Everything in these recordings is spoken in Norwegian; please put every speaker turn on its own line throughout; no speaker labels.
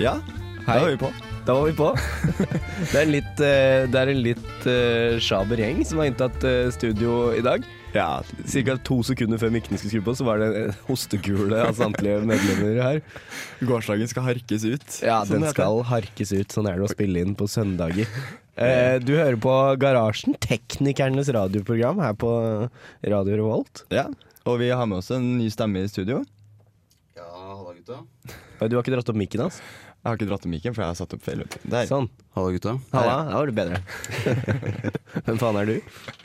Ja, da var vi på. Da var vi på.
Det er en litt, eh, det er en litt eh, sjaber gjeng som har inntatt eh, studio i dag.
Ja,
Cirka to sekunder før mikkene skulle skru på, så var det en hostekule av samtlige medlemmer her.
Gårsdagen skal harkes ut.
Ja,
som
den
det heter.
skal harkes ut. Sånn er det å spille inn på søndager. Eh, du hører på Garasjen, teknikernes radioprogram her på Radio Revolt.
Ja, og vi har med oss en ny stemme i studio.
Ja, halla gutta.
Oi, Du har ikke dratt opp mikken hans?
Jeg har ikke dratt opp mikken, for jeg har satt opp feil. vet du. Der.
Sånn.
Halla gutta.
Halla, da var det bedre. Hvem faen er du?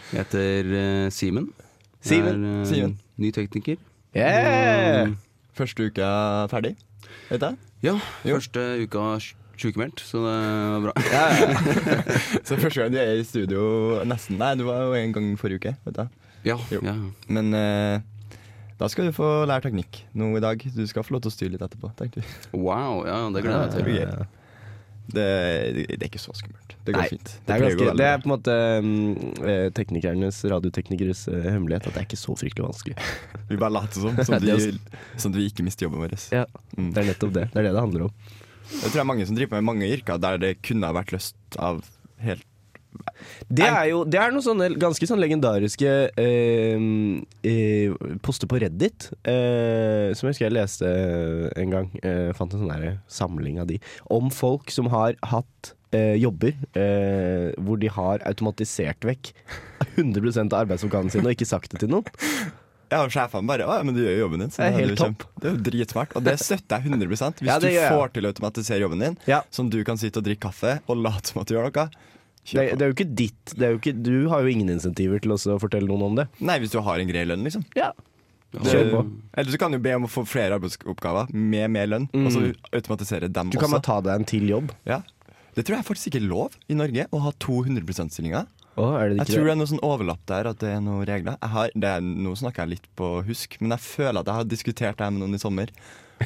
Jeg heter eh, Simen.
Simen.
Jeg er, eh,
Simen. Eh!
Ny tekniker.
Yeah!
Første uka ferdig, vet jeg.
Ja,
Jo.
første uka sj- sykemeldt, så det var bra.
Så første gang du er i studio nesten Nei, du var jo en gang forrige uke, vet jeg.
Ja,
Jo.
ja.
Men eh, da skal du få lære teknikk nå i dag. Du skal få lov til å styre litt etterpå, tenkte vi.
Wow, ja, det
Det
gleder jeg meg til.
blir gøy. Det, det er ikke så skummelt. Det går
Nei,
fint.
Det
pleier
er,
å gå
ganske,
veldig
det
bra.
er på en måte mm, eh, teknikernes, radioteknikeres eh, hemmelighet at det er ikke så fryktelig vanskelig.
Vi bare later som, sånn at
Det er
vi, sånn at vi ikke mister jobben vår. Mm.
Det er nettopp det. Det er det det handler om.
Jeg tror det er mange som driver med mange yrker der det kunne ha vært løst av helt
Det er jo det er noen sånne ganske sånn legendariske eh, eh, poster på Reddit, eh, som jeg husker jeg leste en gang. Eh, fant en sånn der samling av de. Om folk som har hatt eh, jobber eh, hvor de har automatisert vekk 100 av arbeidsoppgavene sine og ikke sagt det til noen.
Ja, og sjefene bare Å, ja, men du gjør jo jobben din. så
Det er
jo
helt
kjempe- Det er jo dritsmart, og det støtter jeg 100 Hvis
Ja, det
du
gjør jeg.
får til å automatisere jobben din,
Ja.
sånn du kan sitte og drikke kaffe og late som at du gjør noe.
Det,
kjør på.
det er jo ikke ditt. Det er jo ikke, du har jo ingen insentiver til også å fortelle noen om det.
Nei, hvis du har en grei lønn, liksom. Eh,
Ja.
Ja.
Kjør på.
Eller så kan du be om å få flere arbeidsoppgaver med mer lønn, og så automatisere dem
Mm. Du kan
også.
bare ta deg en til jobb.
Ja. Det tror jeg faktisk ikke er lov i Norge, å ha 200 %-stillinger.
er det
Jeg tror det er noe sånn overlapp der, at det er noen regler. Jeg har, det er, nå snakker jeg litt på husk, men jeg føler at jeg har diskutert det her med noen i sommer.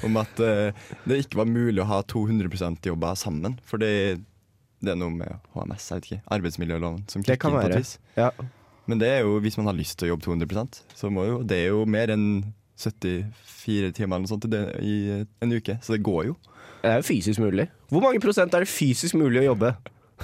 Om at eh, det ikke var mulig å ha 200 jobber sammen. For det, det er noe med HMS, jeg vet ikke. Arbeidsmiljøloven som
Det kan
kicker inn på
være.
et vis.
Ja.
Men det er jo, hvis man har lyst til å jobbe 200 så må jo Det er jo mer enn 74 timer eller noe sånt i det- i en uke, så det går jo.
Det er jo fysisk mulig. Hvor mange prosent er det fysisk mulig å jobbe?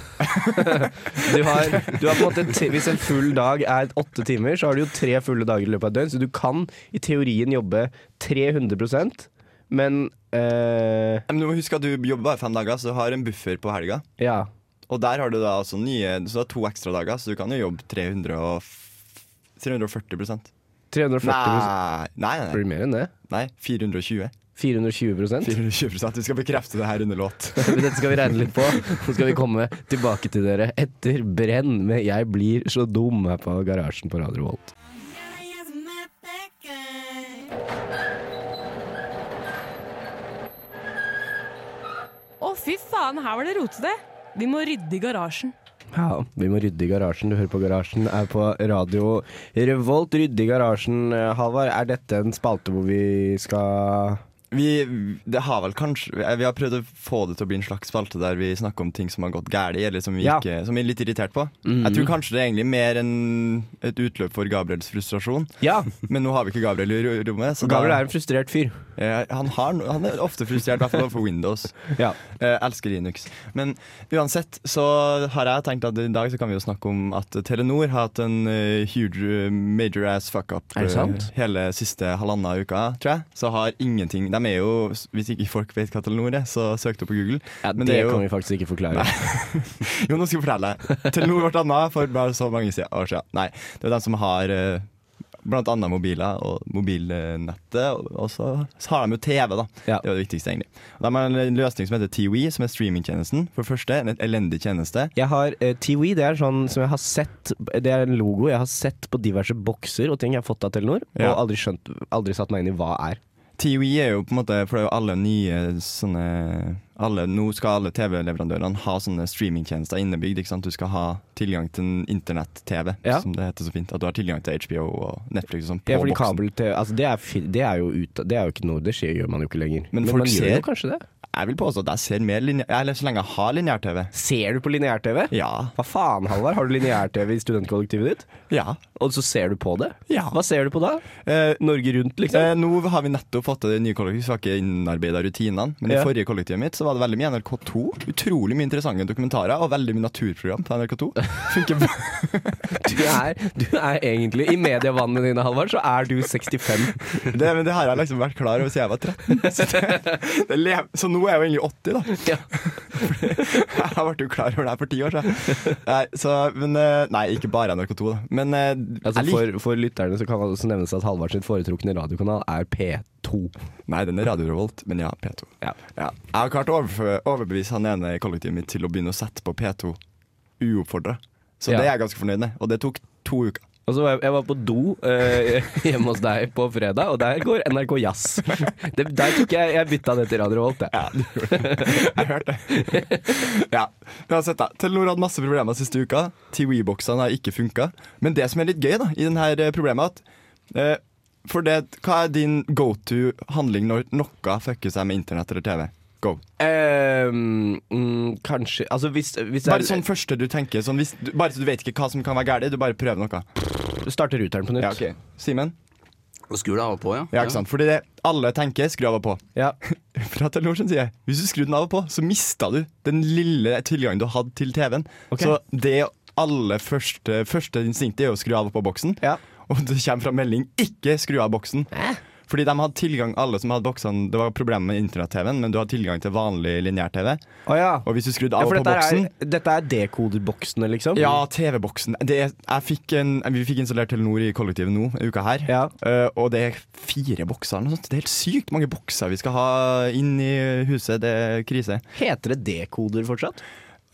du, har, du har på en måte t Hvis en full dag er åtte timer, så har du jo tre fulle dager i løpet av et døgn. Så du kan i teorien jobbe 300 men eh,
Men du må huske at du jobber bare fem dager, så du har en buffer på helga.
ja.
Og der har du da altså nye Så du har to ekstra dager, så du kan jo jobbe 300 og f- 340 prosent.
340
Nei, nei, nei,
Blir det mer enn det?
nei. 420.
420
420 prosent. Vi skal bekrefte det her under låt.
Dette skal vi regne litt på. Så skal vi komme tilbake til dere etter Brenn med 'Jeg blir så dum' her på Garasjen på Radio Volt.
Yeah, he's my bad guy.
Å, fy faen, her var det rotete. Vi må rydde i garasjen.
Ja, vi må rydde i garasjen. Du hører på Garasjen, er på radio Revolt. Rydde i garasjen. Halvard, er dette en spalte hvor vi skal
Vi, det har vel kanskje, vi har prøvd å få det til å bli en slags spalte der vi snakker om ting som har gått galt, eller som vi,
Ja.
ikke, som vi er litt irritert på. Jeg tror kanskje det er egentlig mer enn et utløp for Gabriels frustrasjon.
Ja!
Men nå har vi ikke Gabriel i ro- rommet. Så
Gabriel
da,
er en frustrert fyr.
eh, han, har, no- han er ofte frustrert, i hvert fall overfor Windows.
Ja.
Eh, elsker Linux. Men uansett så har jeg tenkt at i dag så kan vi jo snakke om at Telenor har hatt en eh, huge eh, major ass fuck up
Er det
eh,
sant?
hele siste halvanna uka, tror jeg. Så har ingenting De er jo, hvis ikke folk vet hva Telenor er, så søk det opp på Google. Men
det
er jo-
kan vi faktisk ikke forklare.
jo, nå skal jeg fortelle. Telenor ble danna for bare så mange si- år siden. Nei, det er den som har eh, blant annet mobiler og mobilnettet. og- Og så har de jo TV, da.
Ja.
Det var det viktigste, egentlig. Og De har en løsning som heter TWE, som er streamingtjenesten. For det første en elendig tjeneste.
Jeg har eh, TWE, det er sånn som jeg har sett Det er en logo jeg har sett på diverse bokser og ting jeg har fått av Telenor,
Ja.
og aldri skjønt Aldri satt meg inn i hva er.
TWE E er jo på en måte For det er jo alle nye sånne alle, Nå skal alle TV-leverandørene ha sånne streamingtjenester innebygd. Ikke sant? Du skal ha tilgang til en internett-TV,
Ja.
som det heter så fint. At du har tilgang til HBO og Netflix og sånn på
Ja, fordi
boksen.
kabel-TV altså, det, er fi- det er jo ut, Det er jo ikke noe Det skjer, gjør man jo ikke lenger.
Men folk
man
ser-
gjør jo kanskje det.
Jeg vil påstå at jeg ser mer linje... Eller så lenge jeg har lineær-TV.
Ser du på lineær-TV?
Ja.
Hva faen, Halvard? Har du lineær-TV i studentkollektivet ditt?
Ja.
Og så ser du på det?
Ja.
Hva ser du på da?
Eh,
Norge Rundt, liksom?
Eh, nå har vi nettopp fått til det nye kollektivet, så vi har ikke innarbeida rutinene. Men
Ja.
i forrige kollektivet mitt så var det veldig mye NRK2. Utrolig mye interessante dokumentarer og veldig mye naturprogram på NRK2. Funker bra.
Du er, du er egentlig I medievannene dine, Halvard, så er du 65.
det, men det har jeg liksom vært klar over siden jeg var 13. Så, det, det lev, så nå er jeg jo egentlig 80, da.
Ja.
Jeg ble jo klar over det her for ti år siden. Nei, så, men, eh, nei, ikke bare NRK2, da. Men eh,
Altså,
jeg liker
for, for lytterne så kan det også nevnes at Halvard sin foretrukne radiokanal er P2.
Nei, den er Radio Revolt, men ja, P2.
Ja.
Ja. Jeg har klart å overf- overbevise han ene i kollektivet mitt til å begynne å sette på P2 uoppfordra. Så
Ja.
det er jeg ganske fornøyd med. Og det tok to uker.
Og så var Altså, jeg, jeg var på do eh, hjemme hos deg på fredag, og der går NRK Jazz. Det, der tok jeg Jeg bytta det til Radio Volt, jeg.
Jeg hørte det. ja. Uansett, da. Telenor hadde masse problemer siste uka. TWE-boksene har ikke funka. Men det som er litt gøy da, i denne problemet, er at eh, for det, Hva er din go to handling når noe fucker seg med internett eller TV? Go.
Eh, mm, kanskje Altså hvis, hvis
Bare
jeg
sånn første du tenker. Sånn, hvis, du, bare så du vet ikke hva som kan være galt, du bare prøver noe.
starter ruteren på nytt.
Ja, ok. Simen?
Og skrur deg av og på, ja.
Ja, ikke sant? Fordi det, alle tenker skru av og på.
Ja.
Fra Telenor sin side. Hvis du skrur den av og på, så mista du den lille tilgangen du hadde til TV-en.
Ok.
Så det aller første, første instinktet er å skru av og på boksen.
Ja.
Og det kommer fra melding 'ikke skru av boksen'. Fordi de hadde tilgang, alle som hadde boksene Det var problemer med internett-TV-en, men du hadde tilgang til vanlig lineær-TV.
Å ja.
Og hvis du skrudde
ja
av
for
og på
dette
boksen
er, dette er dekoderboksene, liksom?
ja, TV-boksen. Det er- Jeg fikk en, vi fikk installert Telenor i kollektivet nå, i uka her.
Ja.
Eh, og det er fire bokser eller noe sånt. Det er helt sykt mange bokser vi skal ha inn i huset. Det er krise.
Heter det dekoder fortsatt?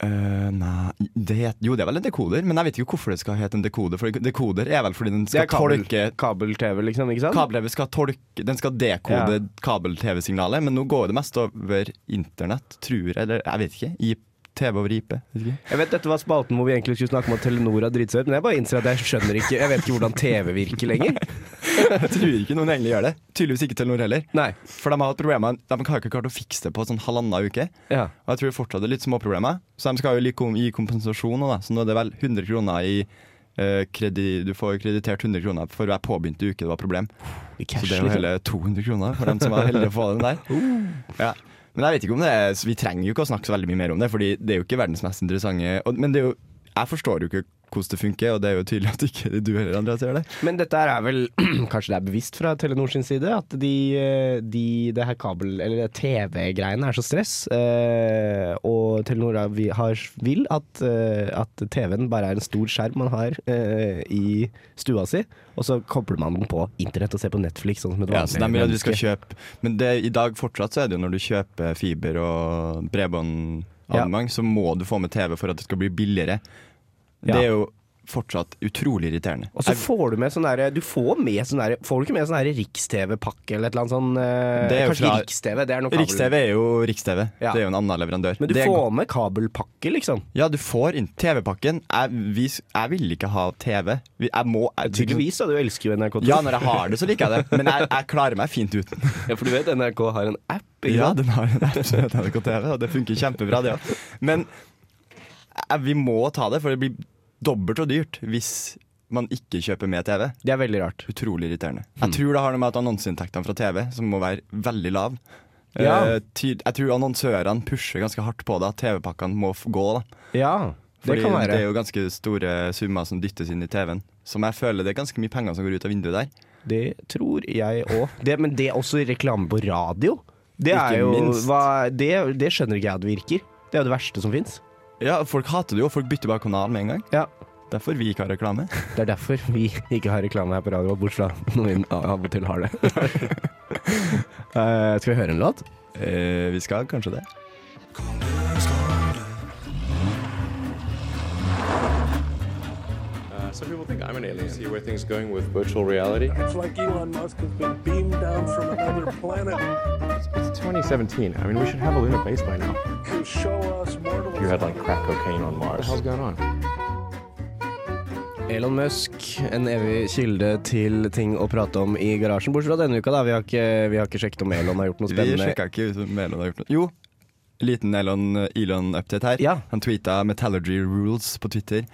Eh, nei det het, Jo, det er vel en dekoder, men jeg vet ikke hvorfor det skal hete en dekoder. For dekoder er vel fordi den skal tolke
kabel-TV, liksom? ikke sant?
Kabel-TV skal tolke Den skal dekode
Ja.
kabel-TV-signalet, men nå går det mest over internett, tror jeg. Eller jeg vet ikke. I TV over IP. Vet ikke.
Jeg vet dette var spalten hvor vi egentlig skulle snakke om at Telenor er dritsøt, men jeg bare innser at jeg skjønner ikke Jeg vet ikke hvordan TV virker lenger.
Jeg tror ikke noen egentlig gjør det. Tydeligvis ikke Telenor heller.
Nei.
For de har hatt problemer De har ikke klart å fikse det på sånn halvannen uke.
Ja.
Og jeg tror det fortsatt er litt småproblemer. Så de skal jo like om- gi kompensasjon nå, da. Så nå er det vel 100 kroner i eh, kredi, Du får kreditert 100 kroner for hver påbegynte uke det var problem. Så det er jo hele 200 kroner for dem som var heldige å få den der. Ja. Men jeg vet ikke om det er så Vi trenger jo ikke å snakke så veldig mye mer om det, Fordi det er jo ikke verdens mest interessante og, Men det er jo Jeg forstår jo ikke hvordan det funker, og det er jo tydelig at ikke du heller, Andreas, gjør det.
Men dette her er vel Kanskje det er bevisst fra Telenor sin side at de, eh, de det her kabel- eller det TV-greiene er så stress, eh, og Telenor er- vi har, vil at, eh, at TV-en bare er en stor skjerm man har eh, i stua si, og så kobler man den på internett og ser på Netflix sånn som et vanlig
Ja, så de vil at du skal
menneske.
kjøpe Men det, i dag fortsatt så er det jo når du kjøper fiber og bredbåndabonnement, så må du få med TV for at det skal bli billigere. Det
Ja.
er jo fortsatt utrolig irriterende.
Og så får du med sånn derre Du får med sånn derre Får du ikke med sånn derre Riks-TV-pakke eller et eller annet sånn eh,
Det er jo
Kanskje ikke
fra-
Riks-TV, det er noe kabel.
Riks-TV er jo Riks-TV.
Ja.
Det er jo en annen leverandør.
Men du
Det er
får med kabelpakke, liksom.
Ja, du får inn TV-pakken. Jeg, vi, jeg vil ikke ha TV. Vi- Jeg må jeg,
Tydeligvis, da. Du elsker jo NRK.
Ja, når jeg har det, så liker jeg det. Men jeg, jeg klarer meg fint uten.
Ja, for du vet NRK har en app? Ikke
Ja,
sant?
den har en app som heter NRK TV, og det funker kjempebra, det òg. Men eh, vi må ta det, for det blir dobbelt så dyrt hvis man ikke kjøper med TV.
Det er veldig rart.
Utrolig irriterende. Jeg tror det har noe med at annonseinntektene fra TV, som må være veldig lav
Ja.
eh, tyd- Jeg tror annonsørene pusher ganske hardt på det, at TV-pakkene må f- gå. da
Ja, det
Fordi
kan være.
det er jo ganske store summer som dyttes inn i TV-en. Som jeg føler det er ganske mye penger som går ut av vinduet der.
Det tror jeg òg. Men det er også reklame på radio. Det
Ikke
er jo
minst.
hva, det, det skjønner ikke jeg at virker. Det er jo det verste som fins.
Ja, Folk hater det jo, folk bytter bare kanal med en gang.
Ja.
Derfor vi ikke har reklame.
Det er derfor vi ikke har reklame her på radio, bortsett fra når vi av og til har det. Eh, skal vi høre en låt?
Eh, vi skal kanskje det.
Uh, some people think I'm an alien. See where things going with virtual reality.
It's like Elon Musk has been beamed down from another planet
It's 2017. I mean, we should have a lunar base by now.
to show us mortals.
You had like crack cocaine on Mars. What the hell's going on?
Elon Musk, en evig kilde til ting å prate om i garasjen. Bortsett fra denne uka, da. Vi har ikke, vi har ikke sjekket om Elon har gjort noe
Vi
spennende.
sjekka ikke ut om Elon har gjort noe. Jo, liten Elon, Elon-update her.
Ja.
Han tweeta 'Metallurgy rules' på Twitter,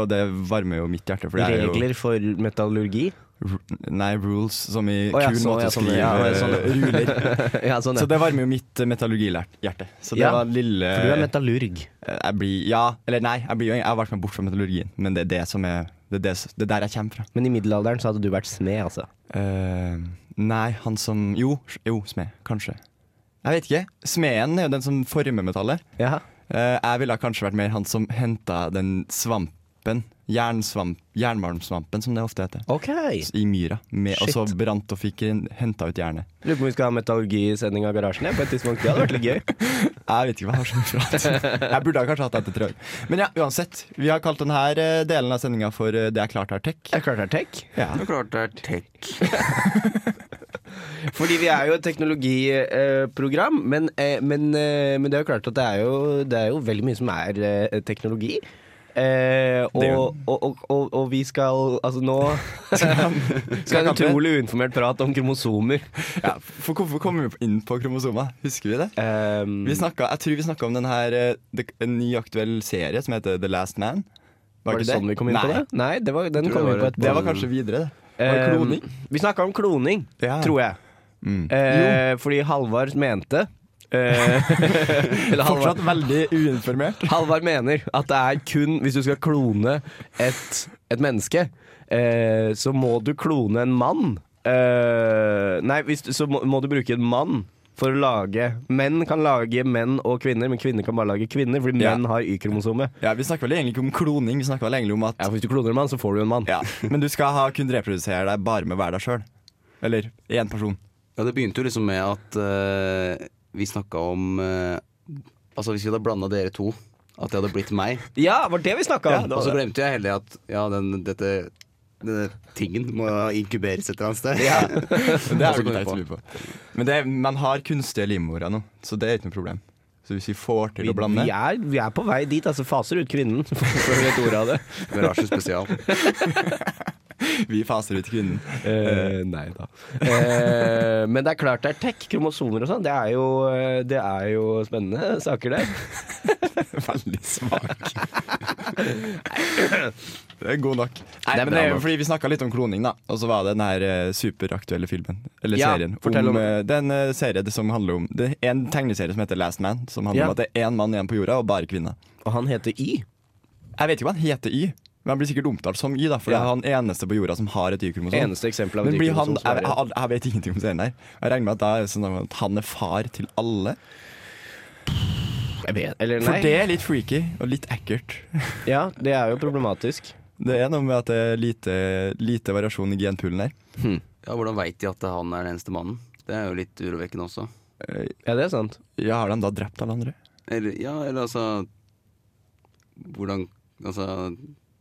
og det varmer jo mitt hjerte. For det er jo
Regler for metallurgi.
Ru- Nei, rules som i
Å, ja,
kul
sånn,
måte
ja,
å
sånn,
skrive
ja, ja,
eh,
sånn.
ruler.
ja, sånn,
Så
ja.
det varmer jo mitt eh, metallurgihjerte. Så det
Ja.
var lille Eh,
For du er metallurg.
Jeg blir Ja, eller nei, jeg, blir jo, jeg har vært med bort fra metallurgien, men det er det som er Det er, det, s- det er der jeg kommer fra.
Men i middelalderen så hadde du vært smed, altså.
Eh, nei, han som Jo, s- jo smed. Kanskje. Jeg vet ikke. Smeden er jo den som former metallet.
Ja.
Eh, jeg ville kanskje vært mer han som henta den svampen. Jernsvamp, jernmalmsvampen, som det ofte heter.
Ok.
S- I myra. Med, og
Shit.
så brant og fikk henta ut jernet.
Lurer på om vi skal ha metallurgisending av garasjen ja, på et tidspunkt. Det hadde vært litt gøy.
Jeg vet ikke hva jeg har skjønt fra. Jeg burde ha kanskje hatt det etter tre år. Men ja, uansett. Vi har kalt denne delen av sendinga for eh, Det er klart er tech.
Jeg klarte det er tech.
Ja.
Det er klart det er tech.
Fordi vi er jo et teknologiprogram, men, eh, men, eh, men det er jo klart at det er jo, det er jo veldig mye som er eh, teknologi. Eh,
Det er jo-
og, og, og, og, og vi skal altså nå skal en
Skal kappe?
utrolig uinformert prat om kromosomer.
ja. For hvorfor kommer vi inn på kromosoma? Husker vi det?
Um,
Vi snakket, jeg tror vi snakka om den her eh, det- en ny aktuell serie som heter The Last Man.
var det
ikke
sånn vi kom inn på
Nei.
det? Nei, det var, den kom
det
vi
var
på
et-
etterpå.
Det var kanskje videre, det. Var det
Eh,
kloning?
vi snakka om kloning,
Ja.
tror jeg. Eh, fordi Halvard mente eh, Eller Halvard
Fortsatt veldig uinformert.
Halvard mener at det er kun hvis du skal klone et, et menneske, eh, så må du klone en mann. Eh, nei, hvis, du- så må, må du bruke en mann for å lage Menn kan lage menn og kvinner, men kvinner kan bare lage kvinner, fordi
Ja.
menn har Y-kromosome.
Ja, Vi snakker vel egentlig ikke om kloning, vi snakker vel egentlig om at
Ja, for Hvis du kloner en mann, så får du en mann.
ja. Men du skal ha, kunne reprodusere deg bare med å være deg sjøl. Eller én person.
Ja, det begynte jo liksom med at eh, vi snakka om eh, Altså, hvis vi hadde blanda dere to, at det hadde blitt meg.
Ja, var det vi snakka om!
og så glemte jeg heller at ja, den, dette, denne tingen må inkuberes et eller annet sted.
Men Det er
Altså,
jo ikke
går
teit
vi
å lure på. Men det, man har kunstige livmorer nå, så det er ikke noe problem. Så hvis vi får til
vi,
å blande
vi, er, vi er på vei dit, altså. Faser ut kvinnen. Før vi vet ordet av det.
Garasje spesial.
Vi faser ut kvinnen.
Eh, nei da. Eh, men det er klart det er tech, kromosomer og sånn. Det, er jo- det er jo spennende saker, det.
Veldig svak. det er god nok. Nei,
Det er
men
bra
det er jo
nok.
fordi Vi snakka litt om kloning, da. Og så var det den her eh, superaktuelle filmen. Eller
Ja,
serien.
fortell om-
eh, det er en eh, serie det som handler om Det er en tegneserie som heter Last Man. Som handler
Ja.
om at det er én mann igjen på jorda, og bare kvinner.
Og han heter Y.
Jeg vet ikke hva han heter Y, men han blir sikkert omtalt som Y, da, for
Ja.
det er han eneste på jorda som har et Y-kromosom.
Eneste eksempel av
Men
et
blir han,
Y-kromosom som
jeg,
er igjen.
jeg, jeg vet ingenting om serien her. Jeg regner med at, da er det sånn at han er far til alle.
Jeg vet, eller
For
nei.
det er litt freaky og litt ekkelt.
Ja, det er jo problematisk.
Det er noe med at det er lite, lite variasjon i genpoolen her.
Ja, Hvordan veit de at han er den eneste mannen? Det er jo litt urovekkende også.
Eh,
Ja, det er sant.
Ja, har de da drept alle andre?
Eller, ja, eller altså hvordan, altså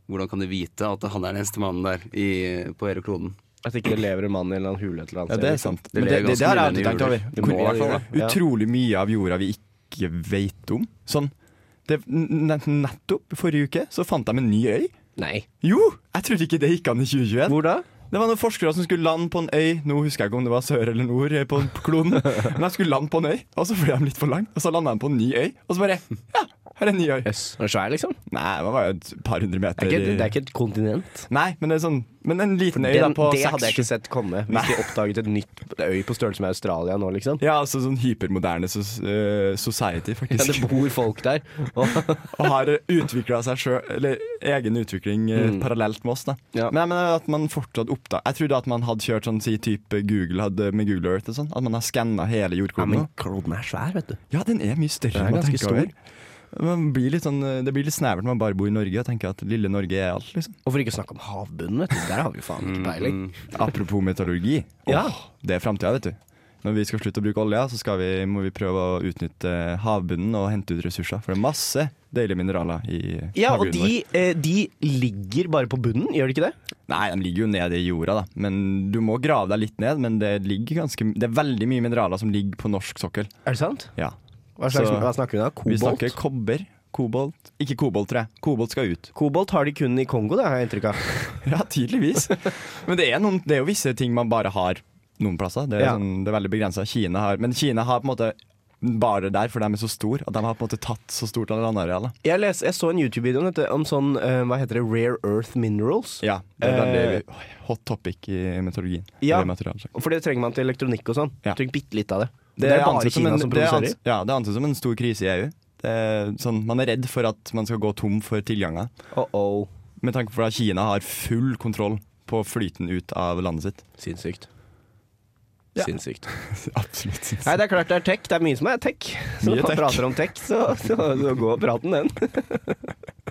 hvordan kan du vite at han er den eneste mannen der i, på hele kloden?
At ikke det lever en mann i en eller annen hule et eller annet
Ja,
sted,
det er
liksom.
sant.
Det
Men det,
lever
det, det har jeg
ganske
alltid
mye
tenkt over.
Det må
Hvor-
det gjøre, ja.
Utrolig mye av jorda vi ikke vet om. Sånn. Det, n- n- nettopp forrige uke så fant de en ny øy.
Nei.
Jo! Jeg trodde ikke det gikk an i 2021.
Hvor da?
Det var noen forskere som skulle lande på en øy. Nå husker jeg ikke om det var sør eller nord eh, på på kloden. Men de skulle lande på en øy, og så fløy de litt for langt. Og så landa de på en ny øy, og så bare Ja, her er en ny øy.
Jøss. Den er svær, liksom. Det
Nei, det var jo et par hundre meter.
er, ikke, det er ikke et kontinent.
Nei, men det er sånn Men en liten øy da
Den,
på
det hadde jeg ikke
seks
sett komme hvis
Nei.
de oppdaget et nytt øy på størrelse med Australia nå, liksom.
Ja, altså sånn hypermoderne sos eh, society,
Ja, det
faktisk.
bor folk der. Og,
og har utvikla seg sjøl, eller egen utvikling eh, parallelt med oss, da.
Mm. Ja.
Men jeg mener at man fortsatt oppdag Jeg trodde at man hadde kjørt sånn si type Google hadde med Google Earth og sånn. At man har skanna hele
ja,
jordkloden.
men
nå.
kloden er svær, vet du.
Ja, den er mye større
Den er
enn man
ganske
tenker over. Man blir litt sånn, eh, det blir litt snevert når man bare bor i Norge og tenker at lille Norge er alt, liksom.
Og for ikke å snakke om havbunnen, vet du. Der har vi jo faen ikke peiling.
Apropos metallurgi. Åh,
Ja.
Det er framtida, vet du. Når vi skal slutte å bruke olja, så skal vi, må vi prøve å utnytte havbunnen og hente ut ressurser. For det er masse deilige mineraler i
Ja, og
havbunnen
de, eh, de ligger bare på bunnen, gjør de ikke det?
vår. Nei, de ligger jo nede i jorda, da. Men du må grave deg litt ned. Men det, ligger ganske, det er veldig mye mineraler som ligger på norsk sokkel.
Er det sant?
Ja.
Hva, slags,
Så-
hva snakker vi da?
Vi
Kobolt?
snakker kobber. Kobolt. Ikke kobolt, tror jeg. Kobolt skal ut.
Kobolt har de kun i Kongo, det har jeg inntrykk av.
Ja, tydeligvis. Men det er, noen, det er jo visse ting man bare har noen plasser. Det er,
Ja.
sånn, det er veldig begrensa. Kina har Men Kina har på en måte bare der, for de er så store, at de har på en måte tatt så stort av landarealet.
Jeg, les, jeg så en YouTube-video om dette, om sånn, eh, hva heter det, rare earth minerals.
Ja, det er
Eh.
veldig hot topic i meteorologien.
Ja.
Eller materialsjekk.
For det trenger man til elektronikk og sånn.
Ja.
Trykk bitte litt av det.
Det er ansett som en- det er
produserer.
ans- Ja, det er ansett som en stor krise i EU. Det er sånn, man er redd for at man skal gå tom for tilganger,
Oh, oh.
med tanke på at Kina har full kontroll på flyten ut av landet sitt.
Sinnssykt.
Ja.
Sinnssykt.
Absolutt.
Nei, det er klart det er tech. Det er mye som er tech. Så
Mye
når man
tech.
prater om tech, så, så, så går praten den.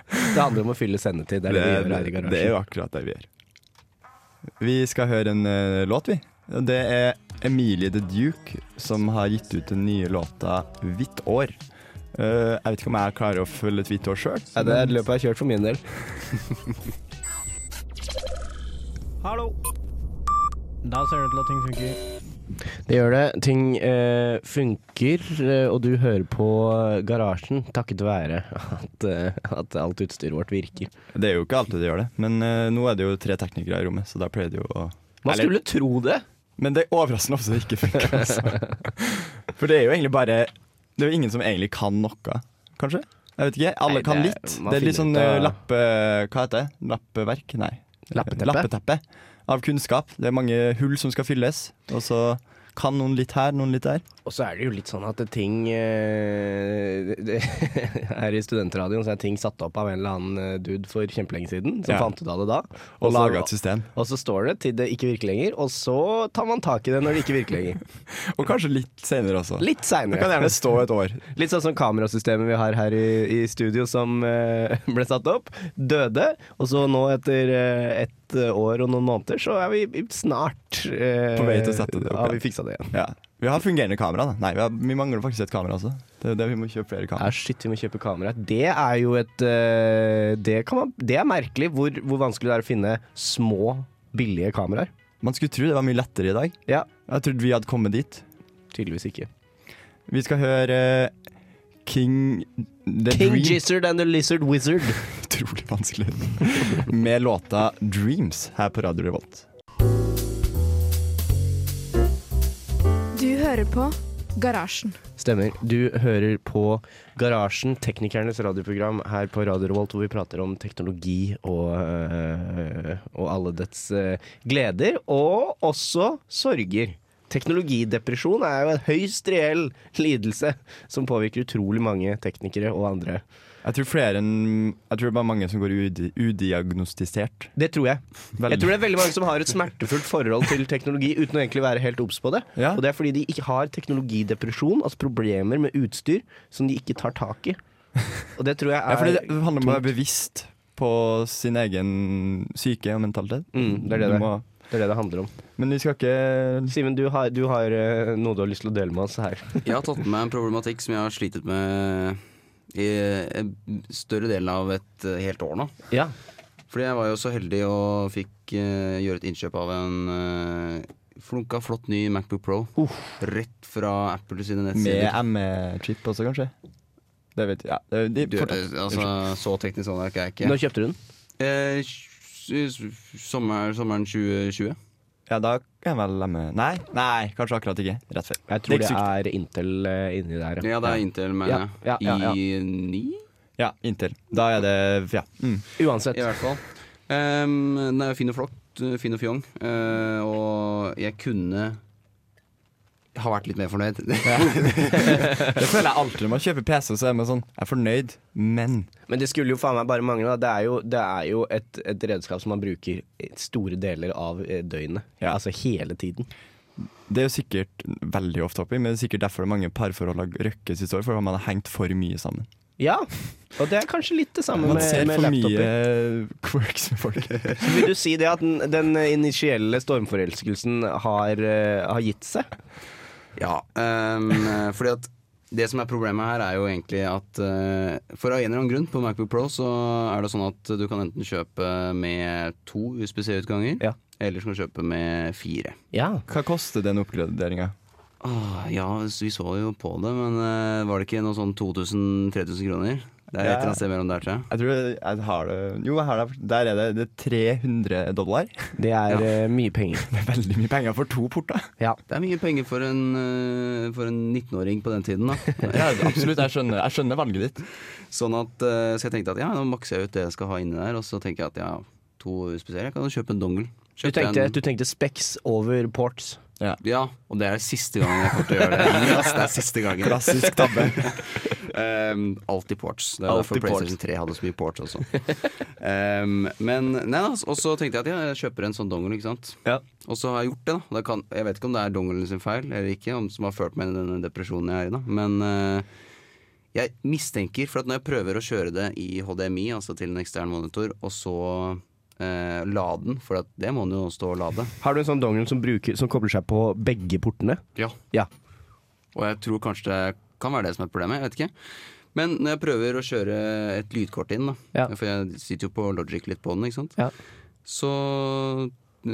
det handler om å fylle sendetid. Det er det, vi gjør her i garasjen.
det er jo akkurat det vi gjør. Vi skal høre en eh, låt, vi. Det er Emilie The Duke som har gitt ut den nye låta 'Hvitt år'. Eh, jeg vet ikke om jeg klarer å følge et hvitt år sjøl.
Ja, det er løpet jeg har kjørt for min del. Hallo.
Da ser det ut til at ting funker.
Det gjør det. Ting eh, funker, eh, og du hører på garasjen takket være at, eh, at alt utstyret vårt virker.
Det er jo ikke alltid det gjør det, men eh, nå er det jo tre teknikere i rommet, så da pleier det jo å
Man skulle tro det!
Men det er overraskende ofte det ikke funker. Altså. For det er jo egentlig bare Det er jo ingen som egentlig kan noe, kanskje? Jeg vet ikke. Alle
Nei,
kan
det-
litt.
man
Det er litt
finner
sånn
ut av-
eh, lappe... Hva heter det? Lappeverk? Nei.
Lappeteppe.
Lappeteppe av kunnskap. Det er mange hull som skal fylles, og så kan noen litt her, noen litt der.
Og så er det jo litt sånn at det ting eh, det- det- Her i studentradioen så er ting satt opp av en eller annen eh, dude for kjempelenge siden, som
Ja.
fant ut av det da.
Og
la-
laga et system.
og så står det til det ikke virker lenger, og så tar man tak i det når det ikke virker lenger.
Og kanskje litt senere også. Det
Litt
kan
seinere.
gjerne stå et år.
Litt sånn som kamerasystemet vi har her i, i studio som eh, ble satt opp. Døde. Og så nå etter eh, ett år og noen måneder, så er vi i- snart eh,
På vei til å sette det opp
Ja,
igjen.
vi fiksa det igjen.
Ja. Vi har fungerende kamera, da. Nei, vi, har, vi mangler faktisk et kamera også. Det er jo det vi må kjøpe flere
Ja,
kamera.
shit, vi må kjøpe kamera. Det er jo et eh, Det, kan man, det er merkelig hvor, hvor vanskelig det er å finne små, billige kameraer.
Man skulle tro det var mye lettere i dag.
Ja,
Jeg trodde vi hadde kommet dit.
tydeligvis ikke.
Vi skal høre eh, King The
King
Dream.
Gizzard and the Lizard Wizard.
Utrolig vanskelig. Med låta 'Dreams' her på Radio Revolt.
Du hører på Garasjen.
Stemmer. Du hører på Garasjen, teknikernes radioprogram her på Radio Revolt, hvor vi prater om teknologi og, øh, og alle dets øh, gleder, og også sorger. Teknologidepresjon er jo en høyst reell lidelse som påvirker utrolig mange teknikere og andre.
Jeg tror flere enn Jeg tror det er mange som går udi udiagnostisert.
Det tror jeg. Jeg tror det er veldig mange som har et smertefullt forhold til teknologi uten å egentlig være helt obs på det.
Ja.
Og det er fordi de ikke har teknologidepresjon, altså problemer med utstyr som de ikke tar tak i. Og det tror jeg er
Ja, fordi det handler om å være
tungt.
bevisst på sin egen psyke og mentalitet.
Mm, det er det
Du
det-
må-
det er det det handler om.
Men vi skal ikke
Simen, du har, du har eh, noe du har lyst til å dele med oss her.
Jeg har tatt med meg en problematikk som jeg har slitet med i en større del av et eh, helt år nå.
Ja.
Fordi jeg var jo så heldig og fikk eh, gjøre et innkjøp av en eh, flunka flott ny Macbook Pro. Rett fra Apple sine
Med
nettsider.
ME-chip også, kanskje? Det vet jeg. Ja, det, de,
Du, eh,
fortsatt.
altså, så teknisk sånn er ikke jeg
Når
ikke.
kjøpte du den?
Eh, s- s- sommer, sommeren 2020.
eh,
ja, da er vel ME Nei, nei, kanskje akkurat ikke. Rett før.
Jeg
er
tror
ikke
det
så-
er Intel eh, inni der.
Ja, det er Intel, mener
Ja,
jeg.
ja, ja, ja.
I ni?
Ja, inntil. Da er det Ja. Mm.
Uansett.
I hvert fall. Um, den er jo fin og flott. Fin og fjong. eh, og jeg kunne ha vært litt mer fornøyd.
Det føler jeg alltid når man kjøper PC, så er man sånn Jeg er fornøyd, men
Men det skulle jo faen meg bare mangle. Da. Det er jo, det er jo et, et redskap som man bruker store deler av eh, døgnet.
Ja.
Altså hele tiden.
Det er jo sikkert veldig ofte oppi, men det er sikkert derfor det er mange parforhold har røkkes i siste år, fordi man har hengt for mye sammen.
Ja, og det er kanskje litt det samme
Man
med,
ser
med
for mye eh,
laptoper.
quirks med folk.
Vil du si det at den, den initielle stormforelskelsen har, eh, har gitt seg?
Ja, um, fordi at det som er problemet her er jo egentlig at eh, for av en eller annen grunn på Macbook Pro så er det sånn at du kan enten kjøpe med to USBC-utganger,
Ja.
eller så kan du kjøpe med fire.
Ja.
Hva koster den oppgraderinga?
Åh, Ah, ja, vi så jo på det, men eh, var det ikke noe sånn 2000-3000 kroner? Det er et
Ja.
eller annet sted mellom der, tror jeg.
Jeg tror jeg- jeg har det Jo, jeg har det. Der er det, det er 300 dollar.
Det er
Ja.
eh, mye penger.
Det er veldig mye penger for to porter.
Ja.
Det er mye penger for en, eh, for en 19-åring på den tiden, da.
Ja, absolutt. Jeg skjønner, jeg skjønner valget ditt.
Sånn at, eh, så jeg tenkte at ja, nå makser jeg ut det jeg skal ha inni der, og så tenker jeg at ja, to spesielle, jeg kan jo kjøpe en dongle.
Du
Kjøpte
tenkte,
en-
du tenkte Specs over ports.
Ja, og det er siste gangen jeg kommer til å gjøre det. Yes, det er siste gangen.
Klassisk tabbe.
Ehm, alltid ports. Det er
Alltid
derfor PlayStation 3 hadde så mye ports også. Ehm, men nei, da, og så tenkte jeg at ja, jeg kjøper en sånn dongle, ikke sant.
Ja.
Og så har jeg gjort det, da. da kan, jeg vet ikke om det er dongelen sin feil eller ikke, om, som har ført meg inn i denne depresjonen jeg er i, da. Men eh, jeg mistenker, for at når jeg prøver å kjøre det i HDMI, altså til en ekstern monitor, og så eh, lade den, for at det må den jo stå og lade.
Har du en sånn dongle som, bruker, som kobler seg på begge portene?
Ja.
Ja.
Og jeg tror kanskje det kan være det som er problemet, jeg vet ikke. Men når jeg prøver å kjøre et lydkort inn, da,
Ja.
for jeg sitter jo på logic litt på den, ikke sant?
Ja.
så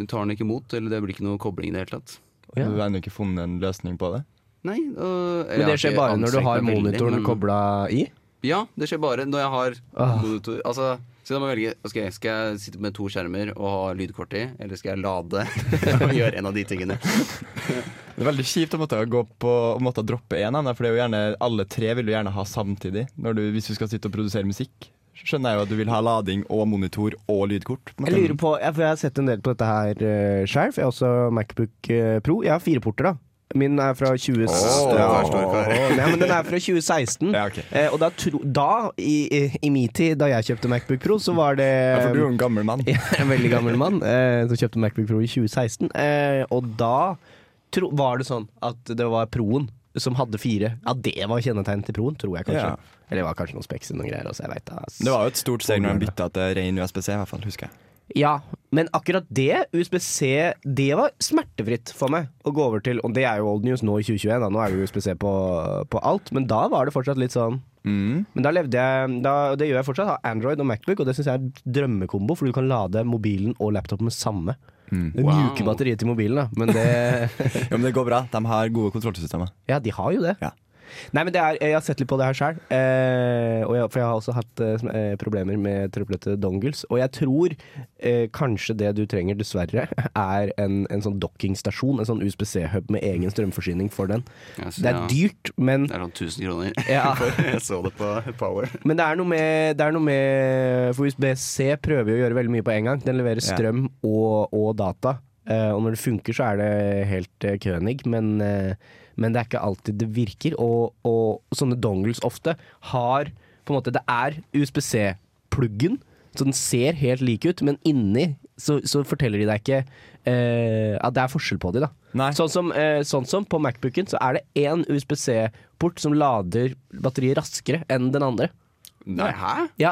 tar den ikke imot, eller det blir ikke noe kobling i det hele tatt.
Ja.
Du har ennå ikke funnet en løsning på det?
Nei, øh, jeg
Men det
har
skjer
ikke
bare når du
anstrengt
har
meg veldig,
monitoren
Mm.
men-
kobla i?
Ja, det skjer bare når jeg har
Ah.
monitor Altså, så da må jeg velge ok, Skal jeg sitte med to skjermer og ha lydkort i, eller skal jeg lade og gjøre en av de tingene?
Det er veldig kjipt å måtte, gå på, å måtte droppe én av dem, for det er jo gjerne, alle tre vil du gjerne ha samtidig når du, hvis du skal sitte og produsere musikk. Skjønner jeg jo at du vil ha lading og monitor og lydkort.
Jeg lurer på, jeg, for jeg har sett en del på dette her uh, sjøl. Jeg har også Macbook eh, Pro. Jeg har fire porter, da. Min er fra 20...
kar, stor kar.
Nei, men den er fra 2016.
Ja, ok.
Eh, og da, tro, da i, i- i min tid, da jeg kjøpte Macbook Pro, så var det
Ja, for
eh,
du er jo en gammel mann.
Jeg er en veldig gammel mann eh, som kjøpte Macbook Pro i 2016. Eh, og da tro, var det sånn at det var Proen som hadde fire. Ja, det var kjennetegnet til Proen, tror jeg kanskje.
Ja.
Eller det var kanskje noen Specs og noen greier. Altså, jeg vet, da, ass.
Det var jo et stort steg når de bytta til ren USBC, i hvert fall, husker jeg.
Ja, men akkurat det, USBC, det var smertefritt for meg å gå over til. Og det er jo old news nå i 2021, da. nå er jo USBC på, på alt. Men da var det fortsatt litt sånn Men da levde jeg da, og Det gjør jeg fortsatt. Har Android og Macbook, og det syns jeg er en drømmekombo, for du kan lade mobilen og laptopen med samme. Det
Wow.
mjuke batteriet til mobilen, da. Men det
Ja, Men det går bra. De har gode kontrollsystemer.
Ja, de har jo det.
Ja.
Nei, men det er, Jeg har sett litt på det her sjøl. Eh, og jeg- for jeg har også hatt eh, sm- eh, problemer med trøblete dongles. Og jeg tror eh, kanskje det du trenger, dessverre, er en, en sånn dockingstasjon. En sånn USBC-hub med egen strømforsyning for den.
Jeg synes
Det er
jeg-
dyrt, men
Det er sånn 1000 kroner.
Ja.
For jeg så det på Power.
Men det er noe med, det er noe med For USB-C prøver jo å gjøre veldig mye på en gang. Den leverer
Ja.
strøm og, og data. Eh, og når det funker, så er det helt uh, König, men, eh, men det er ikke alltid det virker. Og, og sånne dongles ofte har på en måte, Det er USBC-pluggen, så den ser helt lik ut, men inni så, så forteller de deg ikke eh, at det er forskjell på de da.
Nei.
Sånn som, eh, sånn som på Macbooken så er det én USBC-port som lader batteriet raskere enn den andre.
Nei, hæ?
Ja,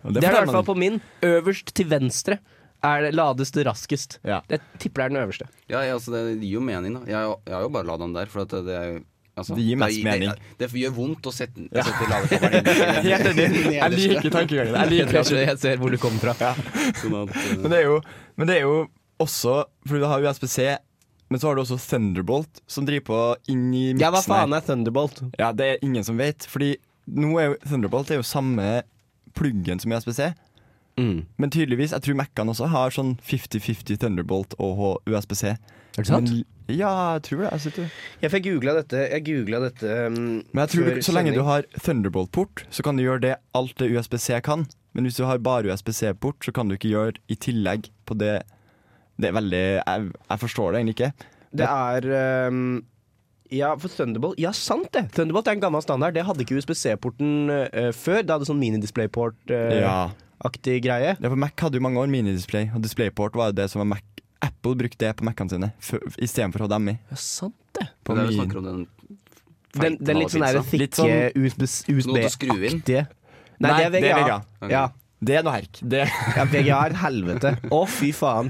Og
det, er i
forteller
hvert fall
man-
på min. Øverst til venstre er det lades det raskest.
Ja.
Jeg tipper det er den øverste.
Ja, ja, altså, det gir jo mening, da. Jeg, har jo- jeg har jo bare lada den der, for at det er jo altså,
Det gir mest
det,
mening.
Det, det, gjør vondt å sette, ja. sette ladekobberen inn.
Helt enig. Jeg liker tankegangen. Jeg liker at
jeg ser hvor du kommer fra.
Sånn at, eh,
Men det er jo, men det er jo også Fordi du har USBC, men så har du også Thunderbolt, som driver på inn i miksen.
Ja, hva faen
her.
er Thunderbolt?
Ja, det er ingen som vet. Fordi nå er jo Thunderbolt er jo samme pluggen som E USBC.
Mm.
Men tydeligvis, jeg tror Mac-ene også har sånn 50-50 Thunderbolt og H- USBC.
Er det sant?
Men, ja, jeg tror det. Jeg sitter.
Jeg fikk googla dette. Jeg googlet dette um,
Men jeg tror
før
så lenge
sending.
du har Thunderbolt-port, så kan du gjøre det alt det USBC kan. Men hvis du har bare USBC-port, så kan du ikke gjøre i tillegg på det Det er veldig Jeg, jeg forstår det egentlig ikke.
Det er ehm, Ja, for Thunderbolt Ja, sant det! Thunderbolt er en gammel standard. Det hadde ikke USBC-porten eh, før. Det hadde sånn mini-displayport-aktig greie.
Ja, for Mac hadde jo mange år minidisplay, og DisplayPort var jo det som var Mac. Apple brukte det på Mac-ene sine f- istedenfor HDMI.
Ja, sant det.
På
det er vi
min.
snakker om den
Den, den litt sånn der
Feitmalpizza.
Litt sånn-
thikke USB-
Noe til å skru inn.
USB-aktige. Nei, det er
Nei, det er
VGA.
VGA.
Ok.
Ja,
Det er noe herk. Det,
ja VGA er et helvete. Å, fy faen.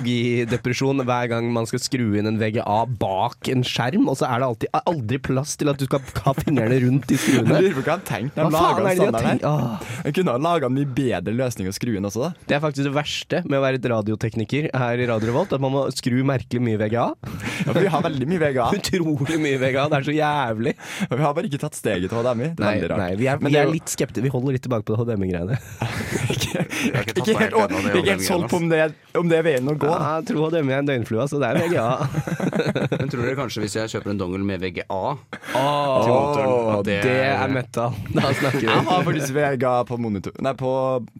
Teknologidepresjon hver gang man skal skru inn en VGA bak en skjerm, og så er det alltid, aldri plass til at du skal ha fingrene rundt de
jeg
skruene.
lurer på hva han tenkte.
Hva
Han laga
faen er det de har
standarden
tenkt?
her.
Åh.
Han kunne ha laga en mye bedre løsning å skru inn også, da.
Det er faktisk det verste med å være et radiotekniker her i Radio Revolt, at man må skru merkelig mye VGA.
Ja, for vi har veldig mye VGA.
Utrolig mye VGA, det er så jævlig.
Og vi har bare ikke tatt steget til HDMI. Det er
Nei,
veldig rart.
nei vi, er,
Men
vi
det er
er
jo-
litt skeptiske. Vi holder litt tilbake på det HDMI-greiene.
Jeg har ikke
Ikke
tatt meg
helt,
helt
å-
ennå,
jeg er ikke
det
helt solgt på
HDMI-greiene,
om det, er- om det er veien å gå.
Ja,
da.
jeg tror HDMI er en døgnflue, så det er VGA.
ass. Men tror dere kanskje hvis jeg kjøper en dongel med VGA
Åh,
motoren.
Ah, det,
Det-
er metal. Da snakker vi.
Jeg har faktisk VGA på monitor Nei, på,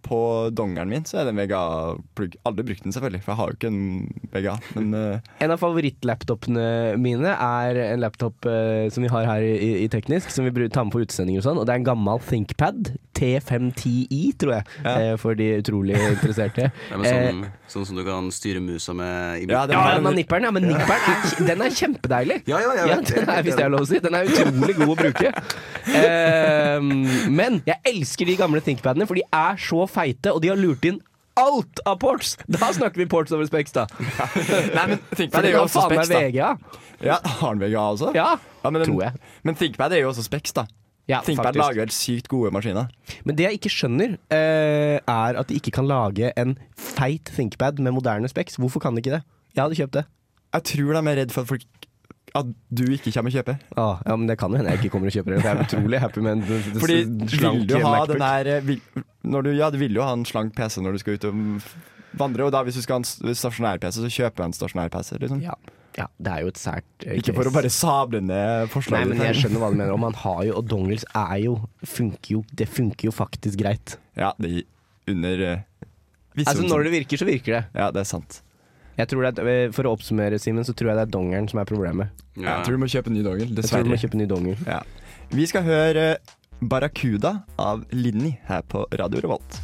på dongeren min så er det en VGA-plugg. Aldri brukt den, selvfølgelig, for jeg har jo ikke en VGA. Men eh,
En av favorittlaptopene mine er en laptop eh, som vi har her i, i Teknisk, som vi bru- tar med på utsendinger og sånn, og det er en gammel ThinkPad, T510i, tror jeg, eh, for de utrolig interesserte.
Nei, men
Eh,
sånn, sånn som du kan styre musa med i
Ja, det-
Ja,
er
den har nipperen, ja, men nipperen er, den er kjempedeilig.
Ja, ja, jeg
ja,
vet det.
den er, hvis det er lov å si. Den er utrolig god å bruke. Ehm, men jeg elsker de gamle ThinkPadene, for de er så feite, og de har lurt inn alt av ports! Da snakker vi ports over specs, da.
Nei, men
For
ThinkPad er
det
jo
kan
også
faen
Specs,
meg
da.
VGA.
Ja, har den VGA også?
Ja,
men den,
tror jeg.
Men ThinkPad er jo også Specs, da.
Ja,
ThinkPad
faktisk.
lager helt sykt gode maskiner.
Men det jeg ikke skjønner, eh, er at de ikke kan lage en feit ThinkPad med moderne specs. Hvorfor kan de ikke det? Jeg hadde kjøpt det.
Jeg tror de er redd for at folk at du ikke kommer å kjøpe.
Ah, ja, men Det kan jo hende jeg ikke kommer og kjøper det. for Jeg er utrolig happy med en en
Fordi Altså, vil
slank
du ha
MacBook.
den der eh, vil, når du, Ja, du vil jo ha en slank PC når du skal ut og vandre, og da hvis du skal ha en st- stasjonær PC, så kjøper jeg en stasjonær PC. Liksom.
Ja. ja, det er jo et sært eh,
Ikke for å
case.
bare sable ned
Nei,
forslaget.
men jeg skjønner hva du mener. Og man har jo, og dongles er jo funker jo, Det funker jo faktisk greit.
Ja, det gir under eh, visse
Altså
omstendigheter.
Når det virker, så virker det.
Ja, det er sant.
Jeg tror det er, eh, For å oppsummere, Simen, så tror jeg det er dongeren som er problemet.
Ja.
Jeg tror du må kjøpe en ny dongel,
Jeg tror du
dessverre.
må kjøpe ny donger.
Ja. Vi skal høre eh, Barracuda av Linni her på Radio Revolt.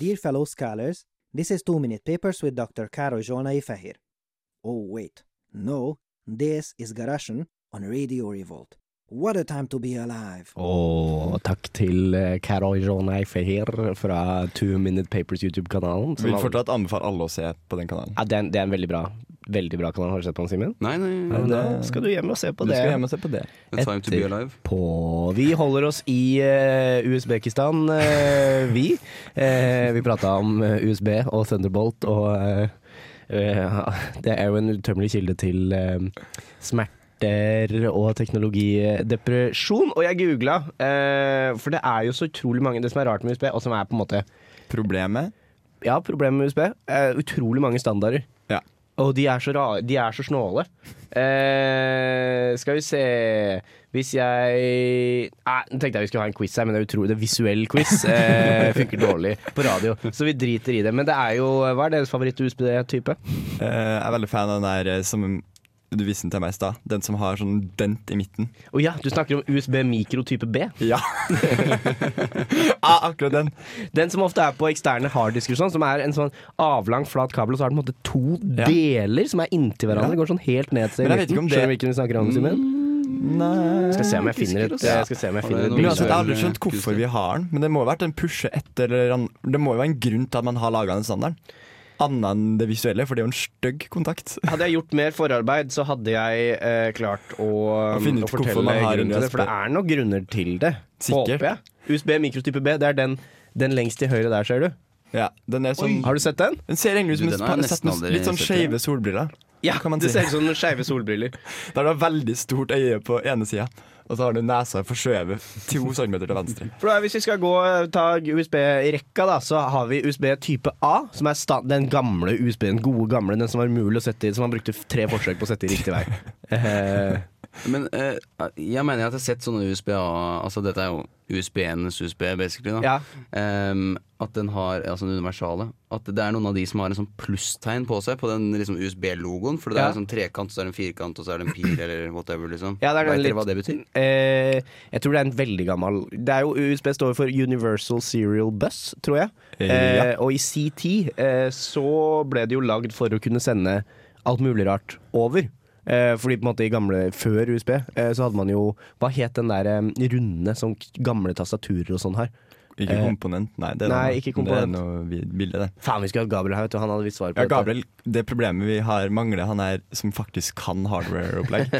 Dear fellow scholars, this is Two Minute Papers with Dr. Karo Jonai Fehir. Oh, wait. No, this is Garashan on Radio Revolt. What a time to be alive!
Og takk til eh, Karoy Ronay Feher fra Two Minute Papers YouTube-kanalen. som
Vil
alle-
fortsatt anbefale alle å se på den kanalen.
Ja, det, er en, det er en veldig bra Veldig bra kanal. Har du sett på den, Simen?
Nei, nei,
Ja,
det-
Da skal du hjem og se på
Du
det.
skal hjem og se på det.
A Time to be
Etter.
alive.
på Vi holder oss i eh, Usbekistan, eh, vi. Eh, vi prata om eh, USB og Thunderbolt, og eh, eh, det er jo en utømmelig kilde til eh, smerter og teknologidepresjon. Og jeg googla, eh, for det er jo så utrolig mange Det som er rart med USB, og som er på en måte
Problemet
Ja, problemet med USB, er eh, utrolig mange standarder.
Ja.
Og de er så, rare, de er så snåle. Eh, skal vi se Hvis jeg Nei, Nå tenkte jeg vi skulle ha en quiz her, men det er utrolig det er visuell quiz. Eh, funker dårlig på radio, så vi driter i det. Men det er jo Hva er deres favoritt-USB-type?
Eh, Jeg er veldig fan av den der eh, som du viste den til meg i stad. Den som har sånn dent i midten.
Å ja, du snakker om USB mikrotype B.
Ja. ah, akkurat den.
Den som ofte er på eksterne harddisker, og sånn, som er en sånn avlang, flat kabel, og så har den på en måte to deler som er inntil hverandre.
Ja.
Går sånn helt ned til
Men jeg vet ikke om
midten.
det-
Skjønner du hvilken vi snakker om, Simen?
Nei
Skal se om jeg finner et, jeg skal se om jeg finner et
Har
Men
du
bilde.
noe
uansett, Jeg har aldri
Visuell,
skjønt hvorfor vi har den, men det må jo ha vært en pushe etter eller an- Det må jo være en grunn til at man har laga den standarden. Annet enn det visuelle, for det er jo en stygg kontakt.
Hadde jeg gjort mer forarbeid, så hadde jeg eh, klart å,
Å
mm,
finne ut
å fortelle
hvorfor man har en
grunnen til
USB.
det. For det er noen grunner til det.
Sikkert.
Håper jeg. USB mikrotype B, det er den, den lengst til høyre der, ser du.
Ja, den er sånn
Har du sett den?
Den ser egentlig ut som en
Du, den har
pa-
jeg
sett
nesten
med
aldri
litt sånn
sett,
skeive solbriller.
Ja,
Hva kan man
det
si?
ser ut som skeive solbriller.
Der du har veldig stort øye på ene sida, og så har du nesa forskjøvet to centimeter til venstre.
For da, Hvis vi skal gå eh, ta USB-rekka, da, så har vi USB type A, som er sta den gamle USB, den gode gamle, den som var umulig å sette i, som man brukte tre forsøk på å sette i riktig vei. Eh,
Men eh, jeg mener at jeg har sett sånne USB-A Altså dette er jo USB-enes USB, basically. da
ja.
Ehm, At den har Altså den universale. At det er noen av de som har en sånn plusstegn på seg på den liksom USB-logoen. For det
Ja.
er en sånn trekant, så er det en firkant, og så er det en pil, eller whatever. liksom
Ja, det er den
Vet
litt-
dere hva det betyr?
Eh, jeg tror det er en veldig gammel Det er jo USB står for Universal Serial Bus, tror jeg. Eh, og i CT eh, så ble det jo lagd for å kunne sende alt mulig rart over. Eh, fordi på en måte i gamle, Før USB eh, så hadde man jo Hva het den der eh, runde som k- gamle tastaturer og sånn har?
Ikke
Eh,
komponent, nei. Det er,
nei,
noe-
ikke komponent.
Det er noe vi- bilde, det.
Faen, vi skulle hatt Gabriel her, vet du. Han hadde visst svaret på
Ja,
dette.
Gabriel, det problemet vi har mangler, han er som faktisk kan hardware-opplegg.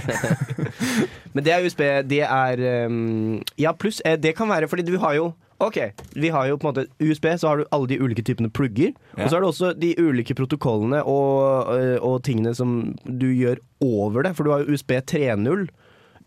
Men det er USB, det er um, Ja, pluss eh, det kan være fordi du har jo Ok, vi har jo på en måte USB, så har du alle de ulike typene plugger.
Ja.
Og så har du også de ulike protokollene og, eh, og tingene som du gjør over det. For du har jo USB 3.0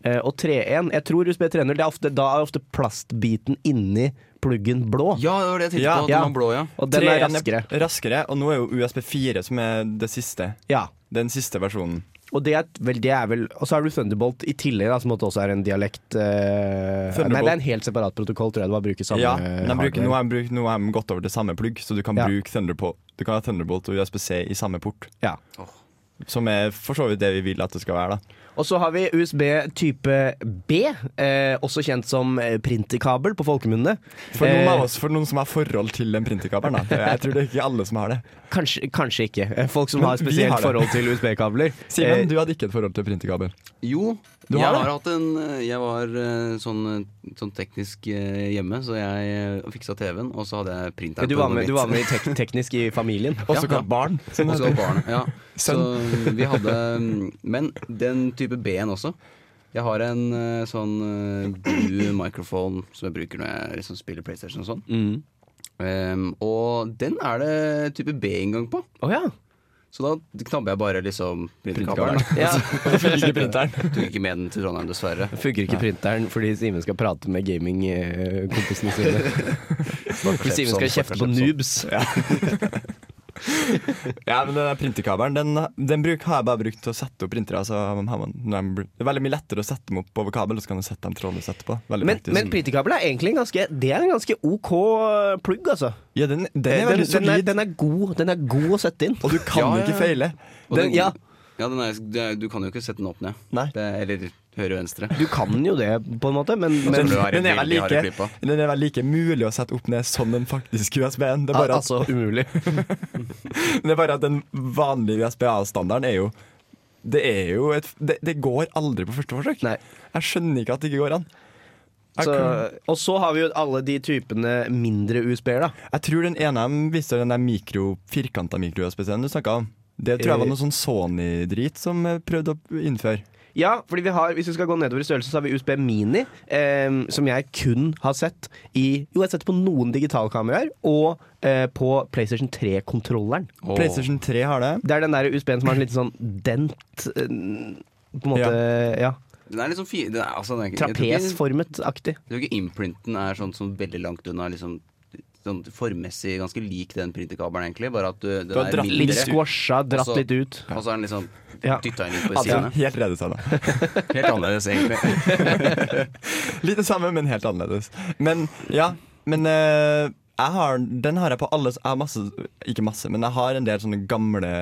eh, og 3.1. Jeg tror USB 3.0 det er ofte, Da er ofte plastbiten inni pluggen blå.
Ja, det var det jeg tenkte på. Den var blå, ja.
Og den er
3.1
raskere.
raskere. Og nå er jo USB4 som er det siste.
Ja.
Den siste versjonen.
Og det er, vel, det er vel Og så har du Thunderbolt i tillegg, da, som også er en dialekt eh, Nei,
Thunderbolt.
det er en helt separat protokoll, tror jeg. Det bare bruker samme
ja, men de bruker,
hardware.
nå, har de brukt, nå har de gått over til samme plugg, så du kan
Ja.
bruke Thunderbolt, du kan ha Thunderbolt og USB-C i samme port.
Ja.
Som er for så vidt det vi vil at det skal være. da
Og så har vi USB type B, eh, også kjent som eh, printerkabel på folkemunne.
For noen
Eh,
av oss, for noen som har forhold til den printerkabelen. da. Jeg tror det er ikke alle som har det.
Kanskje, kanskje ikke. Eh, Folk som
Men
har
vi
spesielt
har det.
forhold til USB-kabler. Eh,
Simen, du hadde ikke et forhold til printerkabel.
Jo,
Du
jeg
har
har,
det?
hatt en eh, Jeg var eh, sånn, eh, sånn teknisk eh, hjemme, så jeg eh, fiksa TV-en, og så hadde jeg printeren.
du
på
var med,
mitt.
du var med i tek teknisk i familien.
Også kalt
barn.
Og så barn, ja. Så vi hadde mm, Men den type B-en også. Jeg har en eh, sånn eh, blue microphone som jeg bruker når jeg liksom spiller PlayStation og sånn.
Mm.
Ehm, og den er det type B-inngang på.
Å ja.
Så da knabber jeg bare liksom printerkabelen.
Printerkabelen. Ja.
Og så funker ikke printeren. Tok ikke med den til Trondheim, dessverre.
Funker ikke printeren fordi Simen skal prate med gamingkompisene sine. Fordi
sånn,
Simen skal kjefte på noobs.
Ja, men den der printerkabelen den, den bruk, har jeg bare brukt til å sette opp printere. Altså, har man, når de bru- det er veldig mye lettere å sette dem opp over kabel, og så kan du sette dem trådløst etterpå. Veldig
Men,
praktisk.
men printerkabel er egentlig en ganske, det er en ganske OK plugg, altså.
ja, den, den
Eh,
er veldig
den, er,
solid,
den, er god, den er god å sette inn.
og du kan
Ja, ja,
ikke
ja.
feile.
Og
Den, ja,
Ja, den er, det er- du kan jo ikke sette den opp ned.
Nei.
Det er, eller høyre-venstre.
du kan jo det, på en måte, men, men
Men du har
Den er, vel
veldig harde
like,
klippa.
den er vel like mulig å sette opp ned som den faktiske USB-en. Det, er bare at-
altså umulig.
det er bare at den vanlige USB-A-standarden er jo Det er jo et det, det går aldri på første forsøk.
Nei.
Jeg skjønner ikke at det ikke går an. Jeg,
Så,
kunne-
og så har vi jo alle de typene mindre USB-er, da.
jeg tror den ene av dem viste den der mikro, firkanta mikro-USB-en du snakka om. Det tror jeg var noe
Eh.
sånn Sony-drit som eh, prøvde å innføre.
Ja, fordi vi har, hvis vi skal gå nedover i størrelse, så har vi USB Mini, eh, som jeg kun har sett i Jo, jeg har sett det på noen digitalkameraer, og eh, på PlayStation 3-kontrolleren.
Åh.
PlayStation 3 har det.
Det er den der USB-en som har en liten sånn dent eh, På en måte, ja.
Den er liksom fi... Den er, altså, den er, ikke- jeg tror ikke-
Trapesformet-aktig.
Jeg tror ikke imprinten er sånn som veldig langt unna liksom Sånn formmessig ganske lik den printerkabelen, egentlig. Bare at du, den
har
er
dratt
mindre,
Litt squasha, dratt
Også-
litt ut.
Og så er den liksom
Ja.
dytta inn litt på
Altså,
sidene.
helt redesigna.
Helt annerledes, egentlig.
Litt det samme, men helt annerledes. Men ja, men eh, jeg har, den har jeg på alle Jeg har masse, ikke masse, men jeg har en del sånne gamle,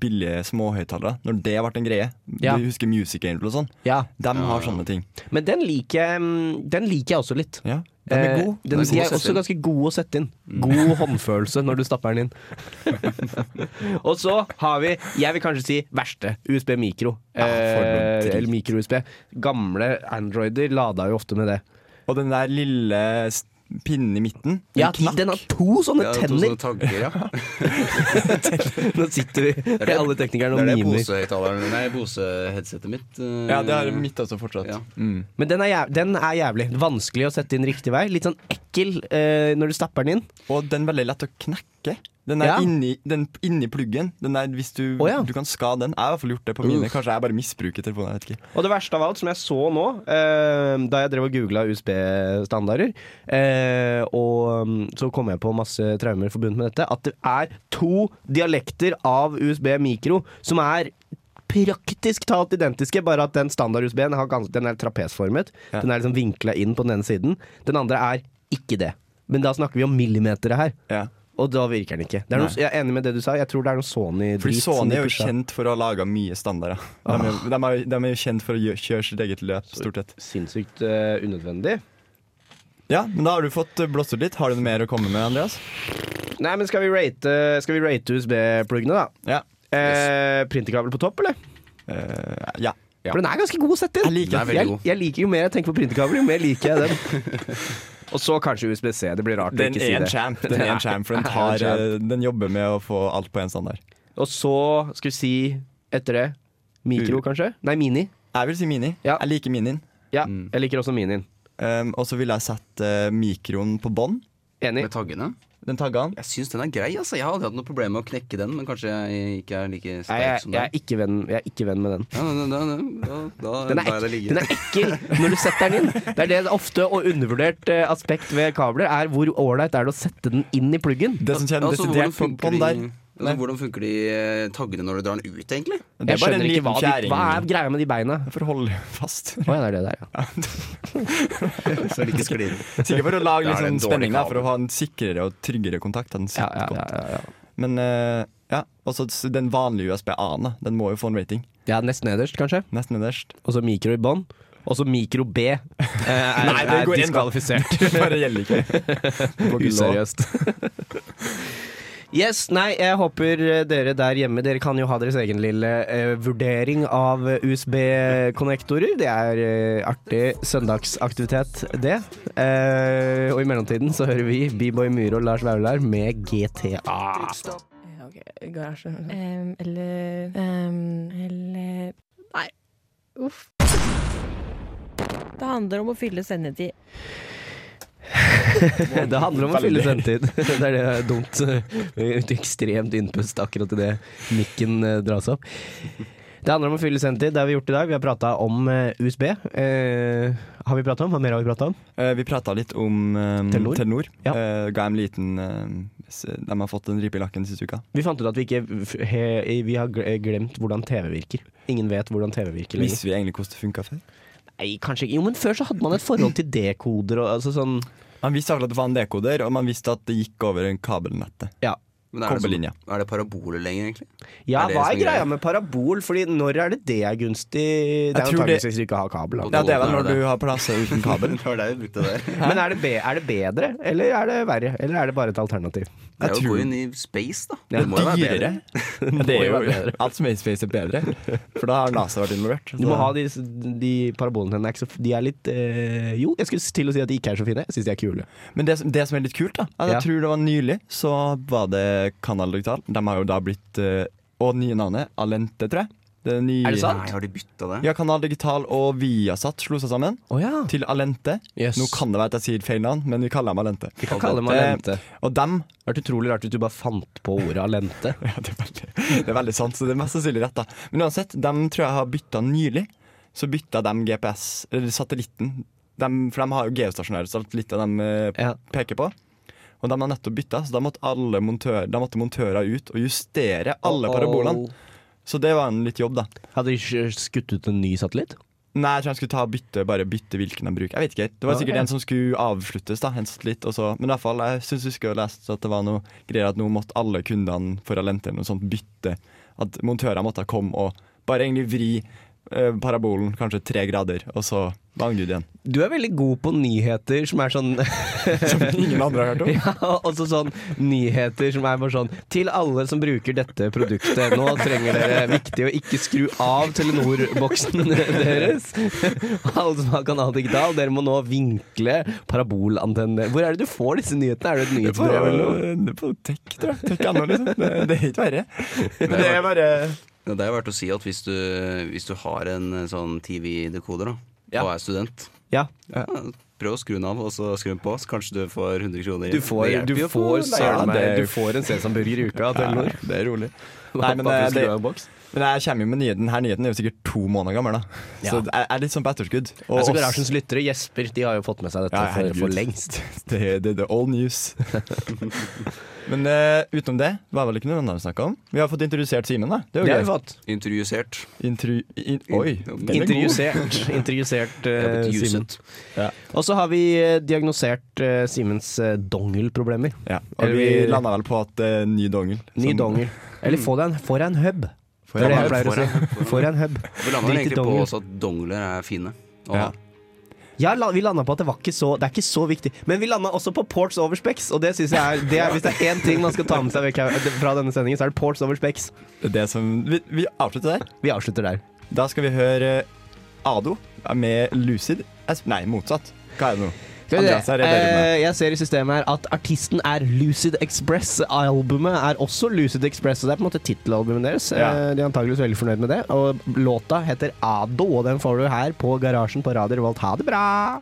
billige småhøyttalere. Når det ble en greie.
Ja.
Du husker Music Angel og sånn.
Ja.
De har sånne ting.
Men den liker, jeg- mm, den liker jeg også litt.
Ja, de er
Eh,
gode.
Den,
Den
de
er god å
er også
sette inn. Mm.
ganske god å sette inn. God håndfølelse når du stapper den inn. og så har vi, jeg vil kanskje si verste, USB mikro.
for noe
eh,
dritt.
eller mikro-USB. Gamle Androider lada jo ofte med det.
Og den der lille s- pinnen i midten. den
Ja,
knakk.
den har to sånne
Ja, to
tenner!
sånne tagger, ja.
Nå sitter vi
det-
alle teknikerne
Det
og
er det
mimer.
Bose-høyttaleren Nei, Bose-headsetet mitt. eh,
Ja, det har mitt også fortsatt.
Ja.
Mm.
Men den er, jæv den er jævlig. Vanskelig å sette inn riktig vei. Litt sånn ekkel eh, når du stapper den inn.
Og den er veldig lett å knekke. Den er
Ja.
inni, den, inni pluggen. Den er, hvis du,
Å, ja.
du kan skade den. Jeg har i hvert fall gjort det på mine. Kanskje jeg bare misbruker telefonen. Jeg vet ikke.
Og det verste av alt, som jeg så nå, eh, da jeg drev og googla USB-standarder, eh, og mm, så kom jeg på masse traumer forbundet med dette, at det er to dialekter av USB mikro som er praktisk talt identiske, bare at den standard USB-en har gans- den er trapesformet.
Ja.
Den er liksom vinkla inn på den ene siden. Den andre er ikke det. Men da snakker vi om millimeter her.
Ja.
Og da virker den ikke. Det er noe, jeg er enig med det du sa. Jeg tror det er noe Sony-drit.
Fordi
som
Sony
de
er jo
pusha.
kjent for å ha laga mye standarder. De er, de, er, de er jo kjent for å gjø- kjøre sitt eget løp, stort sett.
Sinnssykt eh, unødvendig.
Ja, men da har du fått eh, blåst ut litt. Har du noe mer å komme med, Andreas?
Nei, men skal vi rate, skal vi rate USB-pluggene, da?
Ja.
Eh, printerkabel på topp, eller?
Eh, ja.
For den er ganske god å sette
Jeg
inn.
liker den. Den er veldig
jeg,
god.
jeg liker Jo mer jeg tenker på printerkabler, jo mer liker jeg den. Og så kanskje USBC. Det blir rart å
Den
ikke si
er en
det.
champ, den er en champ for den, tar, eh, den jobber med å få alt på én standard.
Og så skal vi si etter det mikro, kanskje? Nei, mini.
Jeg vil si mini. Jeg liker minien.
Ja,
Mm.
jeg liker også minien.
Um, og så ville jeg sette eh, mikroen på bånn.
Enig.
Med taggene?
Den tagga han.
Jeg syns den er grei, altså. Jeg har aldri hatt noe problem med å knekke den, men kanskje jeg ikke er like
Nei,
sterk
jeg,
som
jeg, er
deg.
ikke venn, jeg er ikke venn med den.
Ja, da, da, da, da, da
Den er,
lar jeg det
ek
ligge.
den er ekkel når du setter den inn. Det er det ofte og undervurdert eh, aspekt ved kabler, er hvor ålreit er det å sette den inn i pluggen.
Det som
Ja,
kjenner
altså,
desidert
hvordan
på
funker
bånn
de-
der.
Altså, hvordan funker de eh, taggene når du drar den ut, egentlig?
Det er
Jeg
bare en
skjønner ikke
liten
hva, de,
fjæring.
hva er greia med de beina.
For å holde fast.
Å ja, det er det der, ja.
Så det ikke sklir ut.
Sikkert for å lage
Da
litt
er det en
sånn spenning,
dårlig
da,
kabel.
for å ha en sikrere og tryggere kontakt. Den
Ja,
sitter
ja, ja,
godt.
ja, ja.
Men eh, ja, også s- den vanlige USB-A-en, da. Den må jo få en rating.
ja nest nederst, kanskje.
Nesten nederst.
Og så mikro i bånn. Og så mikro B. Eh, er,
Nei, det går
er
inn, da.
diskvalifisert.
Det bare gjelder ikke. På gull og-
Useriøst. Yes, nei, jeg håper eh, dere der hjemme Dere kan jo ha deres egen lille eh, vurdering av eh, USB-konnektorer. Det er eh, artig søndagsaktivitet, det. Eh, og i mellomtiden så hører vi B-boy Myhre og Lars Vaular med GTA.
Ja, ok, garasje. Ehm, eller ehm, Eller Nei. Uff. Det handler om å fylle sendetid.
Det handler om å
Veldig.
fylle sendetid. Det er det er dumt. Et ekstremt innpust akkurat idet mikken eh, dras opp. Det handler om å fylle sendetid. Det har vi gjort i dag. Vi har prata om eh, USB. Eh, har vi prata om? Hva mer har vi prata om?
Eh, vi prata litt om eh,
Telenor.
Telenor.
Ja.
Eh, ga dem liten eh, s- De har fått en ripe i lakken siste uka.
Vi fant ut at vi ikke f- he, Vi har gle- glemt hvordan TV virker. Ingen vet hvordan TV virker lenger.
Visste vi egentlig hvordan det funka før?
Nei, kanskje ikke. Jo, men før så hadde man et forhold til dekoder og altså sånn
Man visste akkurat at det var en dekoder, og man visste at det gikk over en kabelnettet.
Ja.
Men er det, sånn,
Kobberlinja.
er det paraboler lenger, egentlig?
Ja,
Er det
hva er
som er
greia
greia?
med parabol? Fordi når er det det er gunstig? Det
tror
er
det-
antakeligvis hvis du ikke har kabel. da.
Ja, det er vel
Nå er
når
det.
du har plasser uten kabel.
Det var der vi brukte det.
Men er det, be er det bedre, eller er det verre? Eller er det bare et alternativ?
Det
Jeg
er jo å
tror-
gå inn i space, da.
Det
Det må jo være bedre.
dyrere. Det er
jo være
jo alt som er i space, er bedre. For da har NASA vært involvert.
Du må ha de, de parabolene dine. er ikke så- De er litt eh, Jo, jeg skulle til å si at de ikke er så fine. Jeg syns de er kule.
Men det, som- det som er litt kult, da at Jeg
Ja.
tror det var nylig, så var det Canal Digital. De har jo da blitt eh, Og nye navnet, Alente, tror jeg. Det er, nye,
Er det sant?
Nei, har de bytta det?
Ja, Canal Digital og Viasat slo seg sammen
Å ja.
til Alente.
Yes.
Nå kan det være at jeg sier feil navn, men vi kaller dem Alente.
Vi kan kalle dem
Alente.
alente.
Og dem
Det hadde vært utrolig rart hvis du bare fant på ordet alente.
Ja, det er veldig, det er veldig sant, så det er mest sannsynlig rett. da Men uansett, dem tror jeg har bytta nylig. Så bytta de GPS, eller satellitten. Dem- for de har jo geostasjonære satellitter de eh,
Ja.
peker på. Og de har nettopp bytta, så da måtte alle montør, da måtte montører ut og justere alle
Uh-oh.
parabolene. Så det var en litt jobb, da.
Hadde de sj- skutt ut en ny satellitt?
Nei, jeg tror jeg skulle ta og bytte, bare bytte hvilken de bruker. Jeg vet ikke, Det var
Ja,
sikkert
ja.
en som skulle avsluttes, da, en satellitt. Og så, men i hvert fall, jeg syns jeg skulle lest at det var noe greier at nå måtte alle kundene for Alente eller noe sånt bytte. At montører måtte komme og bare egentlig vri eh, parabolen kanskje tre grader, og så var han gud igjen.
Du er veldig god på nyheter som er sånn
Som ingen andre har hørt om.
Ja, også sånn nyheter som er bare sånn Til alle som bruker dette produktet, nå trenger dere viktig å ikke skru av Telenor-boksen deres. Alle som har Kanal Digital, dere må nå vinkle parabolantennene. Hvor er det du får disse nyhetene? Er det et
Det er
nyhetsbrev eller
på- det
noe?
er eh, på tech, tror jeg. Tech anno, liksom. Det, det er ikke verre. Men
det
det
er
er bare
Ja, Det er jo verdt å si at hvis du, hvis du har en eh, sånn TV-dekoder da,
Ja.
og er student,
Ja,
ja, prøv å skru den av og så skru den på, så kanskje du får 100 kroner.
du
Det
får,
hjelper
du
jo.
får,
Ja,
søren meg,
det er-
du får en sesamburger i uka av Telenor.
Det er rolig. Nei,
Bare
men,
for at
eh,
du skrur
det-
av en boks.
Men jeg kommer jo med nyheten. Denne nyheten er jo sikkert to måneder gammel. da Så jeg er litt sånn på etterskudd. Og
Altså,
oss-
Garasjens lyttere, Jesper, de har jo fått med seg dette
Ja,
for,
herregud.
for lengst.
Det er det, det er old news. Men eh, utenom det var vel ikke noe annet å snakke om. Vi har fått introdusert Simen, da. Det
Det har
er
vi
jo gøy.
fått.
Intervjuisert.
Intru... In, oi, den er god.
Intervjusert. Intervjusert
Jeg har
eh,
blitt
Simen.
juset.
Og så har vi eh, diagnosert eh, Simens eh, dongelproblemer.
Ja, og vi
Eller-
landa vel på at eh, ny dongel.
Ny
som-
dongel. Eller få deg en, få deg en hub.
Får
Det er
jeg
det
bare-
jeg pleier å
får deg en
si. Få deg en hub.
Vi landa
Drit i
egentlig på
dongel.
også at dongler er fine. Og,
Ja.
Ja, la, vi landa på at det var ikke så Det er ikke så viktig. Men vi landa også på ports over specs, og det syns jeg er, det er Hvis det er én ting man skal ta med seg vekk her- fra denne sendingen, så er det ports over specs.
det som, vi, vi avslutter der.
Vi avslutter der.
Da skal vi høre eh, Ado med Lucid. Es- Nei, motsatt. Hva er det nå?
Skal vi se.
Andreas er bedre enn meg.
Eh, jeg ser i systemet her at artisten er Lucid Express. Albumet er også Lucid Express, og det er på en måte tittelalbumet deres.
Ja.
Eh, De er antakeligvis veldig fornøyd med det. Og låta heter Ado, og den får du her på Garasjen på Radio Revolt. Ha det bra!